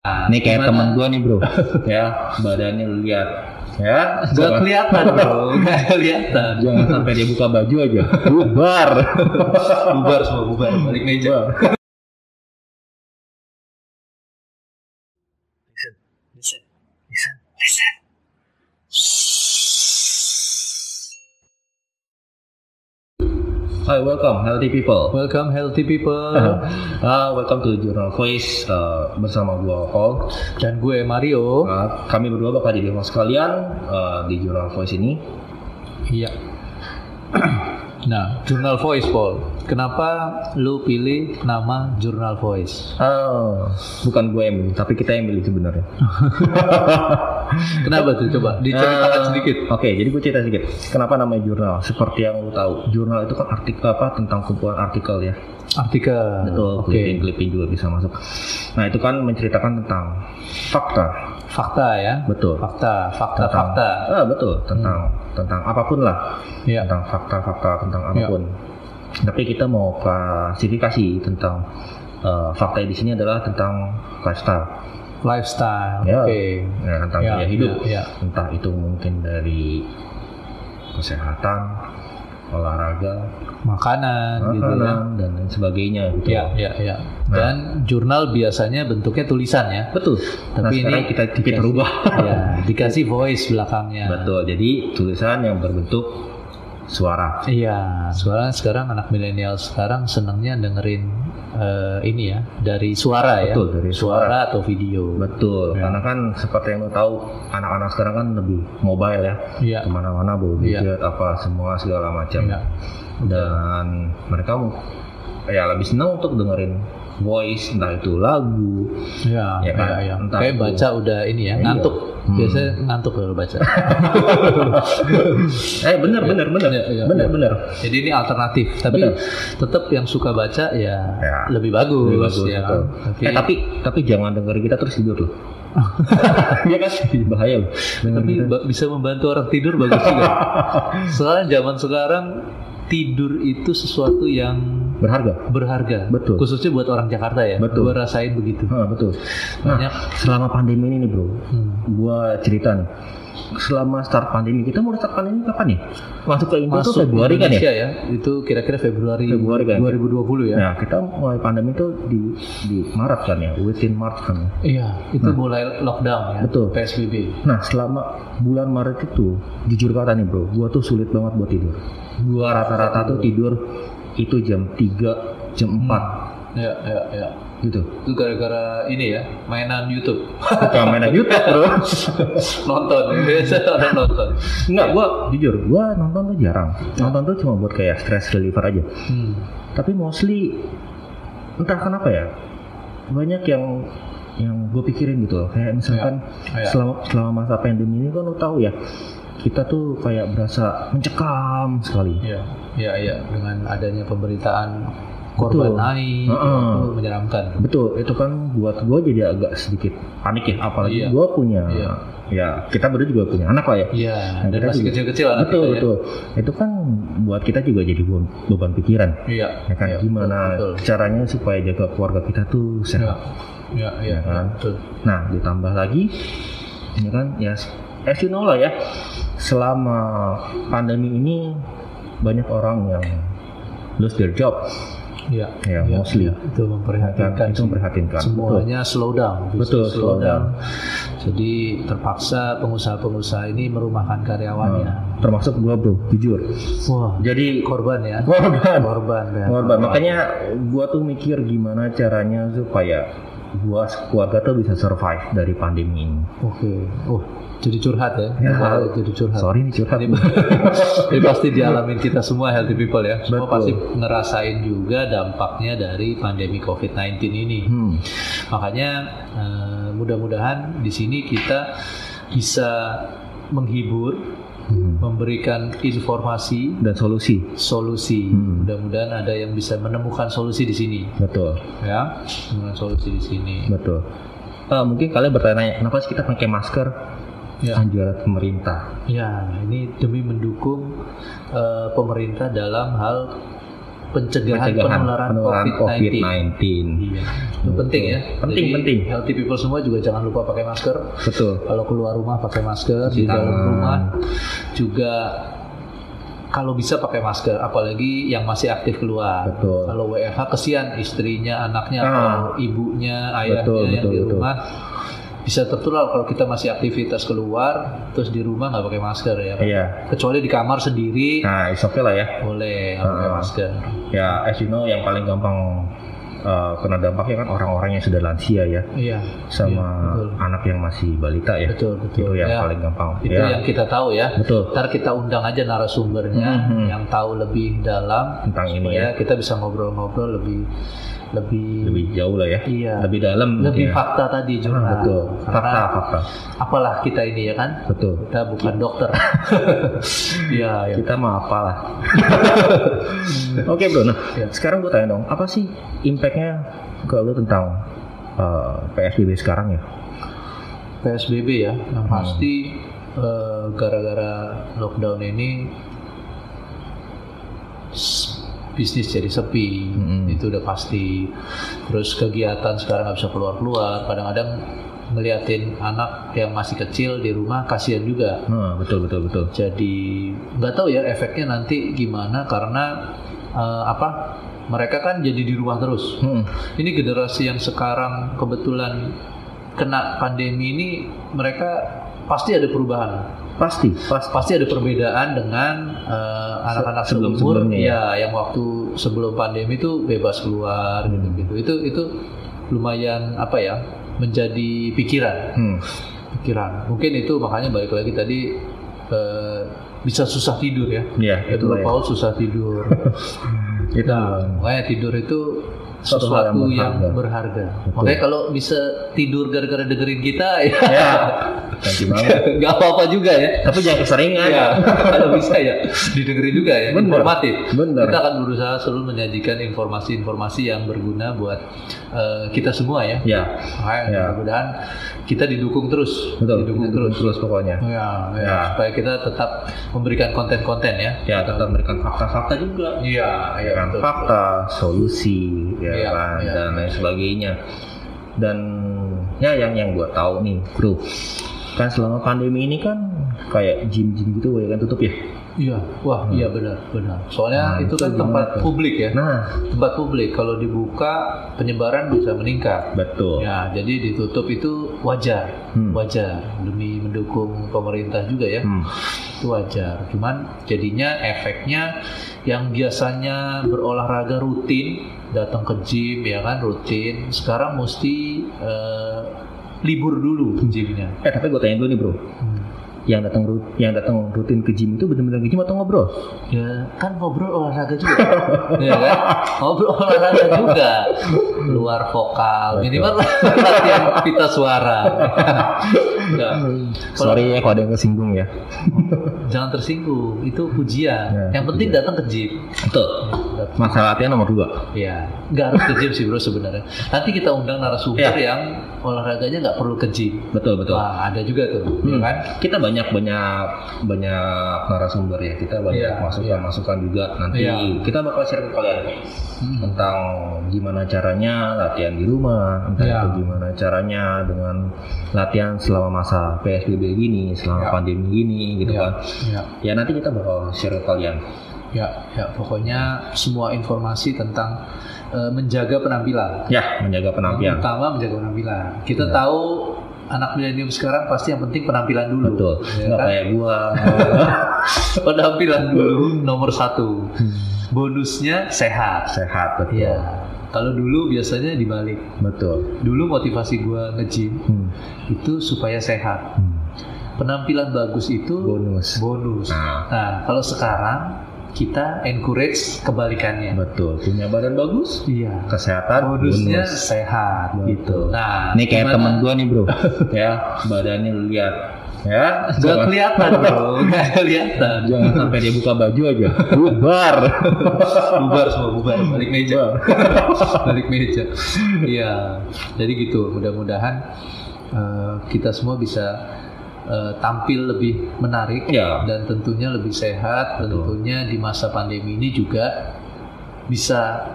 Ini kayak temen Ah, Gimana? gua nih bro. ya badannya lu lihat ya Jangan. gak kelihatan bro gak kelihatan Jangan sampai dia buka baju aja. Bubar. bubar semua bubar Hmm. balik meja Hi, welcome healthy people. Welcome healthy people. Uh, welcome to Journal Voice uh, bersama gua Hall. Dan gue Mario. Uh, kami berdua bakal jadi host kalian uh, di Journal Voice ini. Iya. Nah, Journal Voice Paul. Kenapa lu pilih nama Journal Voice? Oh, bukan gue yang milih, tapi kita yang milih sebenarnya. Kenapa tuh coba diceritakan Eh, sedikit. Oke, jadi gue cerita sedikit. Kenapa namanya jurnal? Seperti yang lo tahu, jurnal itu kan artikel apa tentang kumpulan artikel ya. Artikel. Betul, Oke. clipping clipping juga bisa masuk. Nah itu kan menceritakan tentang fakta, Fakta ya. betul. Fakta, fakta, Tentang- fakta. Ah, betul, tentang tentang apapun lah, Iya. tentang fakta-fakta tentang Iya. apapun. Tapi kita mau klasifikasi tentang eh, fakta di sini adalah tentang lifestyle, Lifestyle. Iya. Oke. ya, tentang Iya, gaya hidup. iya, iya. entah itu mungkin dari kesehatan, olahraga, Makanan, gitu ya. makanan dan lain sebagainya gitu. Iya, iya, iya. Dan jurnal biasanya bentuknya tulisan ya. Betul. nah, Tapi ini sekarang kita kita dikasih- rubah. Iya, dikasih voice belakangnya. Betul. Jadi tulisan yang berbentuk suara. Iya, soalnya sekarang anak milenial sekarang senangnya dengerin eh, ini ya dari suara ya. Betul, dari suara. suara. atau video. Betul. Ya. Karena kan seperti yang lo tahu, anak-anak sekarang kan lebih mobile ya. Iya. Kemana-mana bawa Iya. gadget apa semua segala macam. Iya. Dan mereka ya lebih senang untuk dengerin voice, entah itu lagu, Iya, Ya, iya, kan? iya. Entah Kayak itu- baca udah ini ya, Iya. ngantuk. Hmm. Biasanya ngantuk kalau baca. Eh bener bener bener Iya, iya, bener iya. bener. Jadi ini alternatif, tapi Betul. tetap yang suka baca ya, Ya, lebih bagus, Lebih bagus, ya. betul. Tapi, Eh tapi tapi jangan dengerin kita terus tidur loh. Iya kan bahaya loh. Dengerin tapi kita. ba- bisa membantu orang tidur bagus juga. Soalnya zaman sekarang tidur itu sesuatu yang berharga. berharga. Betul. Khususnya buat orang Jakarta ya. Betul. Gua rasain begitu. Ah, betul. Nah, Banyak. selama pandemi ini nih, Bro. Hmm. Gua cerita nih. Selama start pandemi, kita mulai start pandemi kapan nih? Masuk ke Indo tuh Masuk Februari kan ya? Indonesia ya. Itu kira-kira Februari, Februari kan? 2020 ya. Nah, kita mulai pandemi tuh di di Maret kan ya, within Maret kan. ya? Iya, itu mulai lockdown ya. Betul. PSBB. Nah, selama bulan Maret itu, jujur kata nih bro, gua tuh sulit banget buat tidur. Gua rata-rata tuh tidur itu jam 3, jam 4 Ya, ya, ya. gitu. Itu gara-gara ini ya, mainan YouTube. Bukan mainan YouTube bro. nonton, biasa orang nonton. Enggak, gua jujur, gua nonton tuh jarang. Nonton tuh cuma buat kayak stress reliever aja. Hmm. Tapi mostly entah kenapa ya, banyak yang yang gue pikirin gitu loh. Kayak misalkan Iya. Iya. selama selama masa pandemi ini kan lo tahu ya, kita tuh kayak berasa mencekam sekali. Iya, iya, iya. Dengan adanya pemberitaan korban Betul. naik, Heeh. itu menyeramkan. Betul, itu kan buat gue jadi agak sedikit panik ya, apalagi Iya. gue punya, Iya. ya kita berdua juga punya anak lah ya. Iya, Nah, dan kita masih juga- kecil-kecil anak betul kita ya. betul, itu kan buat kita juga jadi beban, beban pikiran. Iya. Ya kan, iya, gimana betul, betul. caranya supaya jaga keluarga kita tuh Iya, sehat. iya, iya, Ya kan? betul. Nah, ditambah lagi, ini kan ya, as you know lah ya, selama pandemi ini banyak orang yang lose their job, Iya, ya mostly. itu memprihatinkan. Itu memprihatinkan. Semuanya slow down. bisnis Betul, slow down. Jadi terpaksa pengusaha-pengusaha ini merumahkan karyawannya. Nah, Termasuk gua bro, jujur. Wah, Jadi korban ya. korban Korban ya. korban makanya gua tuh mikir gimana caranya supaya gua sekeluarga tuh bisa survive dari pandemi ini Oke. Oh, jadi curhat ya. Ya. Wah, jadi curhat. sorry nih curhat Ini, ini pasti dialamin kita semua healthy people ya. Semua Betul. pasti ngerasain juga dampaknya dari pandemi COVID-19 ini. hmm. Makanya eh, mudah-mudahan di sini kita bisa menghibur, Hmm. memberikan informasi, dan solusi solusi. Hmm. Mudah-mudahan ada yang bisa menemukan solusi di sini, betul ya, menemukan solusi di sini. betul Ah, mungkin kalian bertanya kenapa sih kita pakai masker Ya. anjuran pemerintah Ya, ini demi mendukung eh, Ya, pemerintah dalam hal pencegahan, penularan, COVID-19. COVID-19 Iya. Itu penting ya. Penting, Jadi, penting. Healthy people semua juga jangan lupa pakai masker. Betul. Kalau keluar rumah pakai masker, Cuci di dalam tangan. rumah juga kalau bisa pakai masker, apalagi yang masih aktif keluar. Betul. Kalau WFH kesian istrinya, anaknya, atau Ah. ibunya, ayahnya Betul, yang betul, di betul. rumah bisa tertular kalau kita masih aktivitas keluar terus di rumah nggak pakai masker ya. Pak? Iya. Kecuali di kamar sendiri Nah, it's okay lah ya. boleh nggak pakai Ah. masker. Ya, as you know, yang paling gampang eh, kena dampaknya kan orang-orang yang sudah lansia ya, Iya. sama Iya, betul. anak yang masih balita ya. Betul, betul. Itu yang Ya. paling gampang. Itu ya, yang kita tahu ya. betul. Ntar kita undang aja narasumbernya Mhm. yang tahu lebih dalam Tentang ini ya, supaya kita bisa ngobrol-ngobrol lebih lebih lebih jauh lah ya, iya lebih, lebih dalam. ya. fakta tadi juga. Ah, betul. Karena Fakta, fakta. apalah kita ini ya kan? Betul. Kita bukan dokter. Iya, ya. Kita mah apalah. Oke bro, nah Ya. sekarang gue tanya dong, apa sih impactnya ke lu tentang eh, PSBB sekarang ya? PSBB ya. Yang pasti eh, gara-gara lockdown ini s- bisnis jadi sepi Mm-mm. itu udah pasti terus kegiatan sekarang nggak bisa keluar keluar kadang-kadang ngeliatin anak yang masih kecil di rumah kasihan juga Hmm, betul betul betul. jadi nggak tahu ya efeknya nanti gimana karena eh, apa mereka kan jadi di rumah terus Hmm, ini generasi yang sekarang kebetulan kena pandemi ini mereka pasti ada perubahan pasti pasti. pasti ada perbedaan dengan eh, anak-anak Se- sebelum- seumur sebelumnya ya. ya yang waktu sebelum pandemi itu bebas keluar gitu Hmm. gitu itu itu lumayan apa ya menjadi pikiran Hmm, pikiran mungkin itu makanya balik lagi tadi eh, bisa susah tidur ya ya itu itu lah ya. Paul susah tidur Itu Nah, lah. makanya tidur itu Suatu sesuatu hal yang yang berharga. berharga. Betul. Makanya kalau bisa tidur gara-gara dengerin kita ya ya. Nanti banget. nggak apa-apa juga ya. Tapi jangan keseringan. Ya, kalau bisa ya didengerin juga ya, Bener. informatif. Bener. Kita akan berusaha selalu menyajikan informasi-informasi yang berguna buat eh, kita semua ya. Ya, Makanya Ya. mudah-mudahan kita didukung terus, betul. didukung Itu terus. terus. terus pokoknya. Ya, ya, Ya. supaya kita tetap memberikan konten-konten ya. Ya, tetap memberikan fakta-fakta juga. Iya, iya kan betul. fakta, solusi, ya Iya, kan, iya. dan lain sebagainya. Dan ya yang yang gua tahu nih, bro, kan selama pandemi ini kan kayak gym-gym gitu ya kan tutup ya. Iya, wah iya benar, benar. Nah, Soalnya itu itu kan gimana tempat tuh? publik ya. Nah, Tempat publik kalau dibuka penyebaran bisa meningkat. betul. Ya, jadi ditutup itu wajar, Oh. Hmm. wajar demi mendukung pemerintah juga ya. Hmm, Itu wajar. Cuman jadinya efeknya yang biasanya berolahraga rutin, datang ke gym ya kan rutin, sekarang mesti eh, libur dulu gymnya. Eh tapi gua tanya dulu nih bro, Hmm. yang datang ru- yang datang rutin ke gym itu benar-benar ke gym atau ngobrol? Ya kan ngobrol olahraga juga, ya kan? Ngobrol olahraga juga, luar vokal, Betul. minimal latihan pita suara. Ya. Enggak. Sorry ya kalau ada yang kesinggung ya. Jangan tersinggung, itu pujian. Ya, Yang penting datang ke gym. Betul. Masalah latihan nomor dua. Ya, nggak harus ke gym sih bro sebenarnya. Nanti kita undang narasumber yang olahraganya nggak perlu ke gym. Betul Ya. betul. Wah, ada juga tuh, ya Hmm. kan? Kita banyak banyak banyak narasumber ya. Kita Iya, banyak masukan masukan juga nanti Iya. kita bakal share ke kalian Hmm. tentang gimana caranya latihan di rumah, entah Iya. itu gimana caranya dengan latihan selama masa PSBB gini, Iya. selama pandemi gini gitu Ya, kan. ya. Ya nanti kita bakal share ke kalian. Ya, ya, pokoknya semua informasi tentang eh, menjaga penampilan. Ya, menjaga Yang penampilan. Utama menjaga penampilan. Kita tahu anak milenium sekarang pasti yang penting penampilan dulu. Betul. Ya Nggak kan? kayak gua. penampilan dulu nomor satu. Bonusnya sehat. Sehat betul. Iya. Kalau dulu biasanya dibalik. Betul. Dulu motivasi gua nge-gym Hmm. itu supaya sehat. Hmm. Penampilan bagus itu Bonus. bonus. Nah, Nah, kalau sekarang kita encourage kebalikannya. betul. Punya badan bagus, Iya. kesehatan Bonusnya bonus. sehat gitu. Betul. Nah, Ini kayak gimana? temen gua nih bro, ya badannya lu lihat, ya Gak jangan, kelihatan bro, gak kelihatan. jangan sampai dia buka baju aja, bubar. bubar semua bubar, balik meja, balik meja. Iya, jadi gitu. Mudah-mudahan eh, kita semua bisa eh, tampil lebih menarik Ya. dan tentunya lebih sehat. Betul. Tentunya di masa pandemi ini juga bisa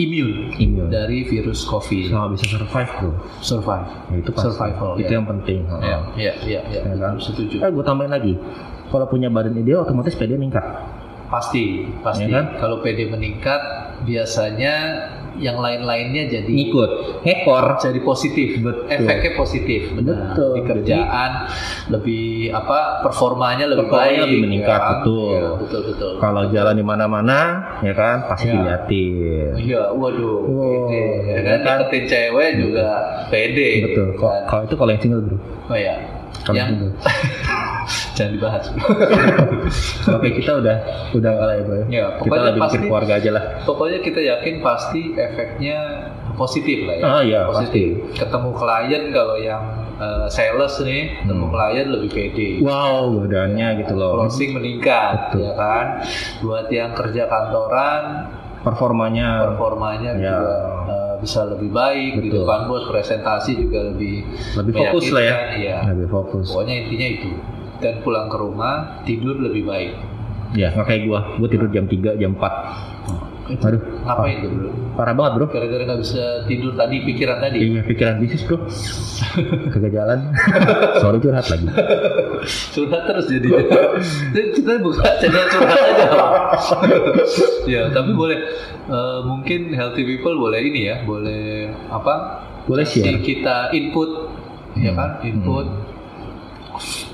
immune Immune. dari virus COVID. selama bisa survive bro Survive. Ya, itu pasti. Survival, itu ya. yang penting Iya, iya, iya, iya. Ya kan? Setuju. eh gue tambahin lagi kalau punya badan ideal otomatis PD meningkat Pasti, pasti. Ya kan? Kalau PD meningkat, biasanya yang lain-lainnya jadi Iya. ngikut ngekor jadi positif, Betul. efeknya positif, benar. Betul. Di kerjaan lebih apa performanya lebih Performanya baik, lebih meningkat, ya kan? betul. Iya, betul, betul. kalau jalan di mana-mana ya kan Ya. pasti diliatin Iya, waduh, Wow. pede, ya kan? Ya kan? Deketin cewek juga pede, betul kok gitu? kan? kalau itu kalau yang single bro Oh ya, Kalau yang single. jangan dibahas. Kalau kayak kita udah udah nggak lah ya bro Ya, kita pokoknya lebih mikir pasti- keluarga aja lah Pokoknya kita yakin pasti efeknya positif lah ya. ah iya pasti positif. Ketemu klien kalau yang eh, sales nih, ketemu Hmm. klien lebih pede. wow badannya gitu loh Closing meningkat, Betul. ya kan. Buat yang kerja kantoran, performanya performanya Ya. juga eh, bisa lebih baik di Betul. depan bos, presentasi juga lebih Lebih fokus lah ya. meyakinkan, Iya. lebih fokus Pokoknya intinya itu. Dan pulang ke rumah tidur lebih baik. ya nggak kayak gua gua tidur jam 3, jam 4 aduh Ah. Ngapain itu bro? parah banget bro Gara-gara nggak bisa tidur tadi pikiran tadi. Iya pikiran bisnis bro Kagak jalan Sorry curhat lagi curhat terus jadi Jadi kita buka channel curhat aja ya tapi boleh Eh, mungkin healthy people boleh ini ya boleh apa Boleh Kasih share. kita input ya Hmm. kan input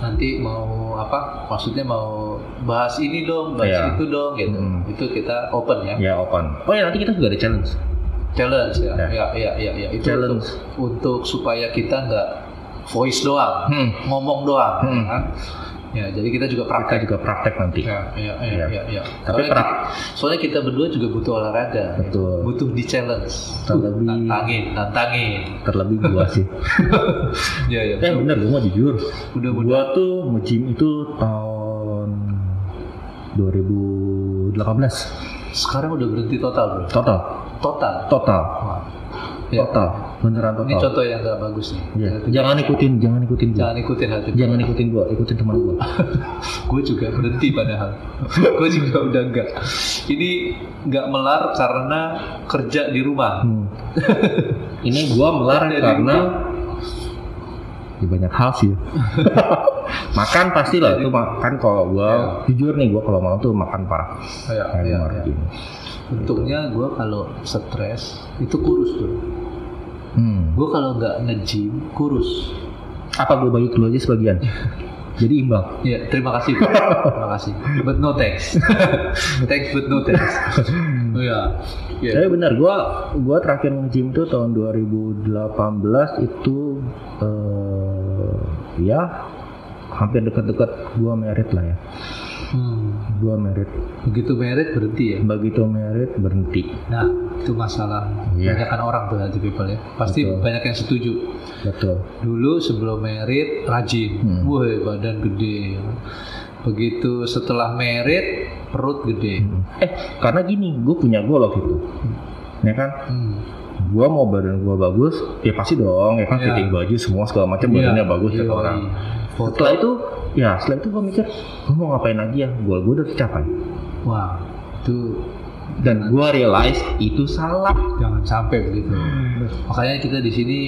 nanti mau apa maksudnya mau bahas ini dong bahas Iya. itu dong gitu Hmm. itu kita open ya Ya open Oh ya nanti kita juga ada challenge challenge ya Ya. ya ya ya, ya. itu Challenge. Untuk, untuk supaya kita nggak voice doang Hmm. ngomong doang Hmm. kan ya jadi kita juga Kita praktek juga praktek nanti Ya, ya, ya, Ya. ya, ya. Tapi soalnya, pra- kita, soalnya kita berdua juga butuh olahraga, Betul. butuh di challenge, Terlebih- tantangin, tantangin. Terlebih gua sih Ya, ya. Eh bener gua mau jujur Mudah-mudahan. Gua tuh nge-gym itu tahun 2018 Sekarang udah berhenti total, bro. Total Total. Total Wah. Ya. Total Beneran Ini total contoh yang gak bagus nih. Iya. Hati- Jangan ikutin Jangan ikutin gua Jangan ikutin hati. Jangan ikutin gua Ikutin teman gua Gue juga berhenti padahal. Gue juga udah enggak. Ini nggak melar karena kerja di rumah. Hmm. Ini gua melar Jadi karena ya banyak hal sih. makan pasti lah itu makan kalau gua jujur nih gua kalau malam tuh makan parah. Ya, Kayak ya, luar ya. gitu. Untungnya gue kalau stres itu kurus bro. Hmm. Gue kalau nggak nge-gym kurus. Apa gua bagi dulu aja sebagian? Jadi imbang. Ya, terima kasih. Pak. terima kasih. But no thanks. thanks but no thanks. Hmm. Oh ya. Ya. Tapi benar gua gua terakhir nge-gym tuh tahun 2018 itu eh, ya hampir dekat-dekat gua merit lah ya. Hmm, Gua merit. begitu merit berhenti ya. Begitu merit berhenti. Nah, itu masalah Iya. kebanyakan orang tuh healthy people ya. Pasti Betul. banyak yang setuju. Betul. Dulu sebelum merit rajin, Hmm. Woi, badan gede. Begitu setelah merit perut gede. Eh, karena gini, gue punya goal waktu itu. Ya kan, Hmm. gue mau badan gue bagus, ya pasti dong, ya kan, Iya. fitting baju semua segala macam badannya Iya. bagus kata Yoi. orang. Foto. Setelah itu, ya setelah itu gue mikir, gue mau ngapain lagi ya, goal gue udah tercapai. Wah, itu Dan gue realize itu salah. jangan sampai begitu. Makanya kita di sini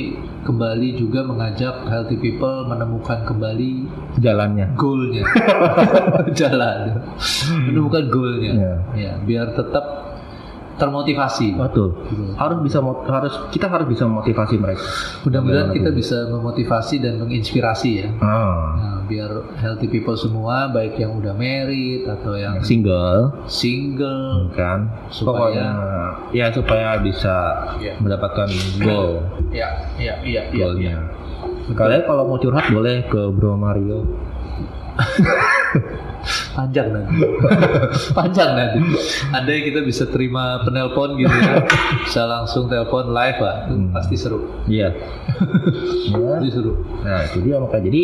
kembali juga mengajak healthy people menemukan kembali Jalannya. goalnya, jalan, menemukan goalnya, Iya. ya biar tetap termotivasi. Betul. Betul. Harus bisa mot- harus kita harus bisa motivasi mereka. Mudah-mudahan Bagaimana kita tuh? bisa memotivasi dan menginspirasi ya. Ah, Nah, biar healthy people semua, baik yang udah married atau yang Ya. single single, kan Supaya- pokoknya ya supaya bisa Iya. mendapatkan goal ya, ya, ya, ya. goalnya. Kalian kalau mau curhat boleh ke Bro Mario. panjang nanti panjang nanti andai kita bisa terima penelpon gitu ya bisa langsung telepon live lah itu Hmm. pasti seru Iya. Ya. pasti seru Nah, itu dia makanya jadi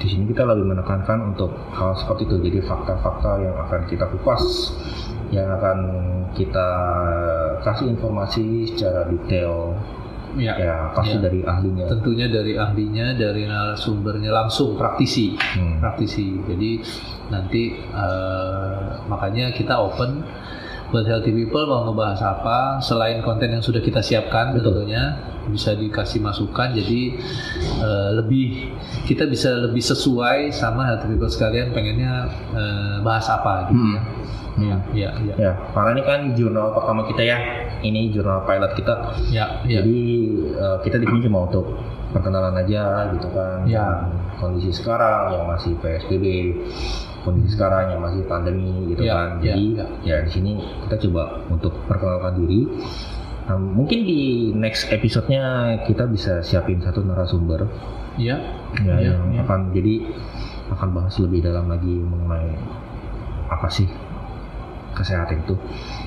di sini kita lebih menekankan untuk hal seperti itu. Jadi fakta-fakta yang akan kita kupas, yang akan kita kasih informasi secara detail. ya, Ya, pasti Ya. dari ahlinya. tentunya dari ahlinya dari narasumbernya langsung praktisi Hmm. praktisi jadi nanti eh, makanya kita open buat healthy people mau ngebahas apa selain konten yang sudah kita siapkan Betul. tentunya bisa dikasih masukan jadi eh, lebih kita bisa lebih sesuai sama healthy people sekalian pengennya eh, bahas apa gitu Hmm. ya. Ya, ya, Ya, karena ini kan jurnal pertama kita ya. Ini jurnal pilot kita. ya, ya. Jadi eh, kita di sini cuma untuk perkenalan aja gitu kan. Ya. Kondisi sekarang yang masih PSBB, kondisi sekarang yang masih pandemi gitu Ya, kan. ya, Jadi ya. ya, di sini kita coba untuk perkenalkan diri. Nah, mungkin di next episode-nya kita bisa siapin satu narasumber ya. ya, Iya, yang iya. akan jadi akan bahas lebih dalam lagi mengenai apa sih kesehatan itu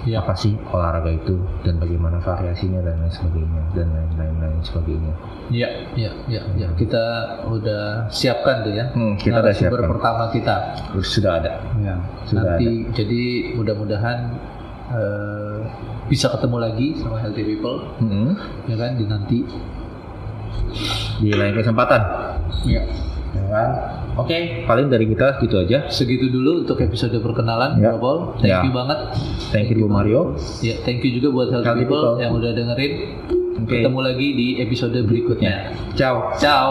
Iya. apa sih olahraga itu dan bagaimana variasinya dan lain sebagainya dan lain lain lain sebagainya Iya, iya, iya, iya. Kita udah siapkan tuh ya. Hmm, kita udah Narasumber siapkan. pertama kita. sudah ada Ya. Sudah Nanti jadi mudah-mudahan eh, bisa ketemu lagi sama healthy people Mm-mm. ya kan di nanti. Hmm? di lain kesempatan Ya. ya kan oke paling dari kita gitu aja Segitu dulu untuk episode perkenalan, Ya. Bro Paul. Thank Ya. you banget. thank you Bu Mario Ya, thank you juga buat healthy, Healthy people, people. yang udah dengerin. Oke. Ya. Ketemu lagi di episode berikutnya. ciao Ciao.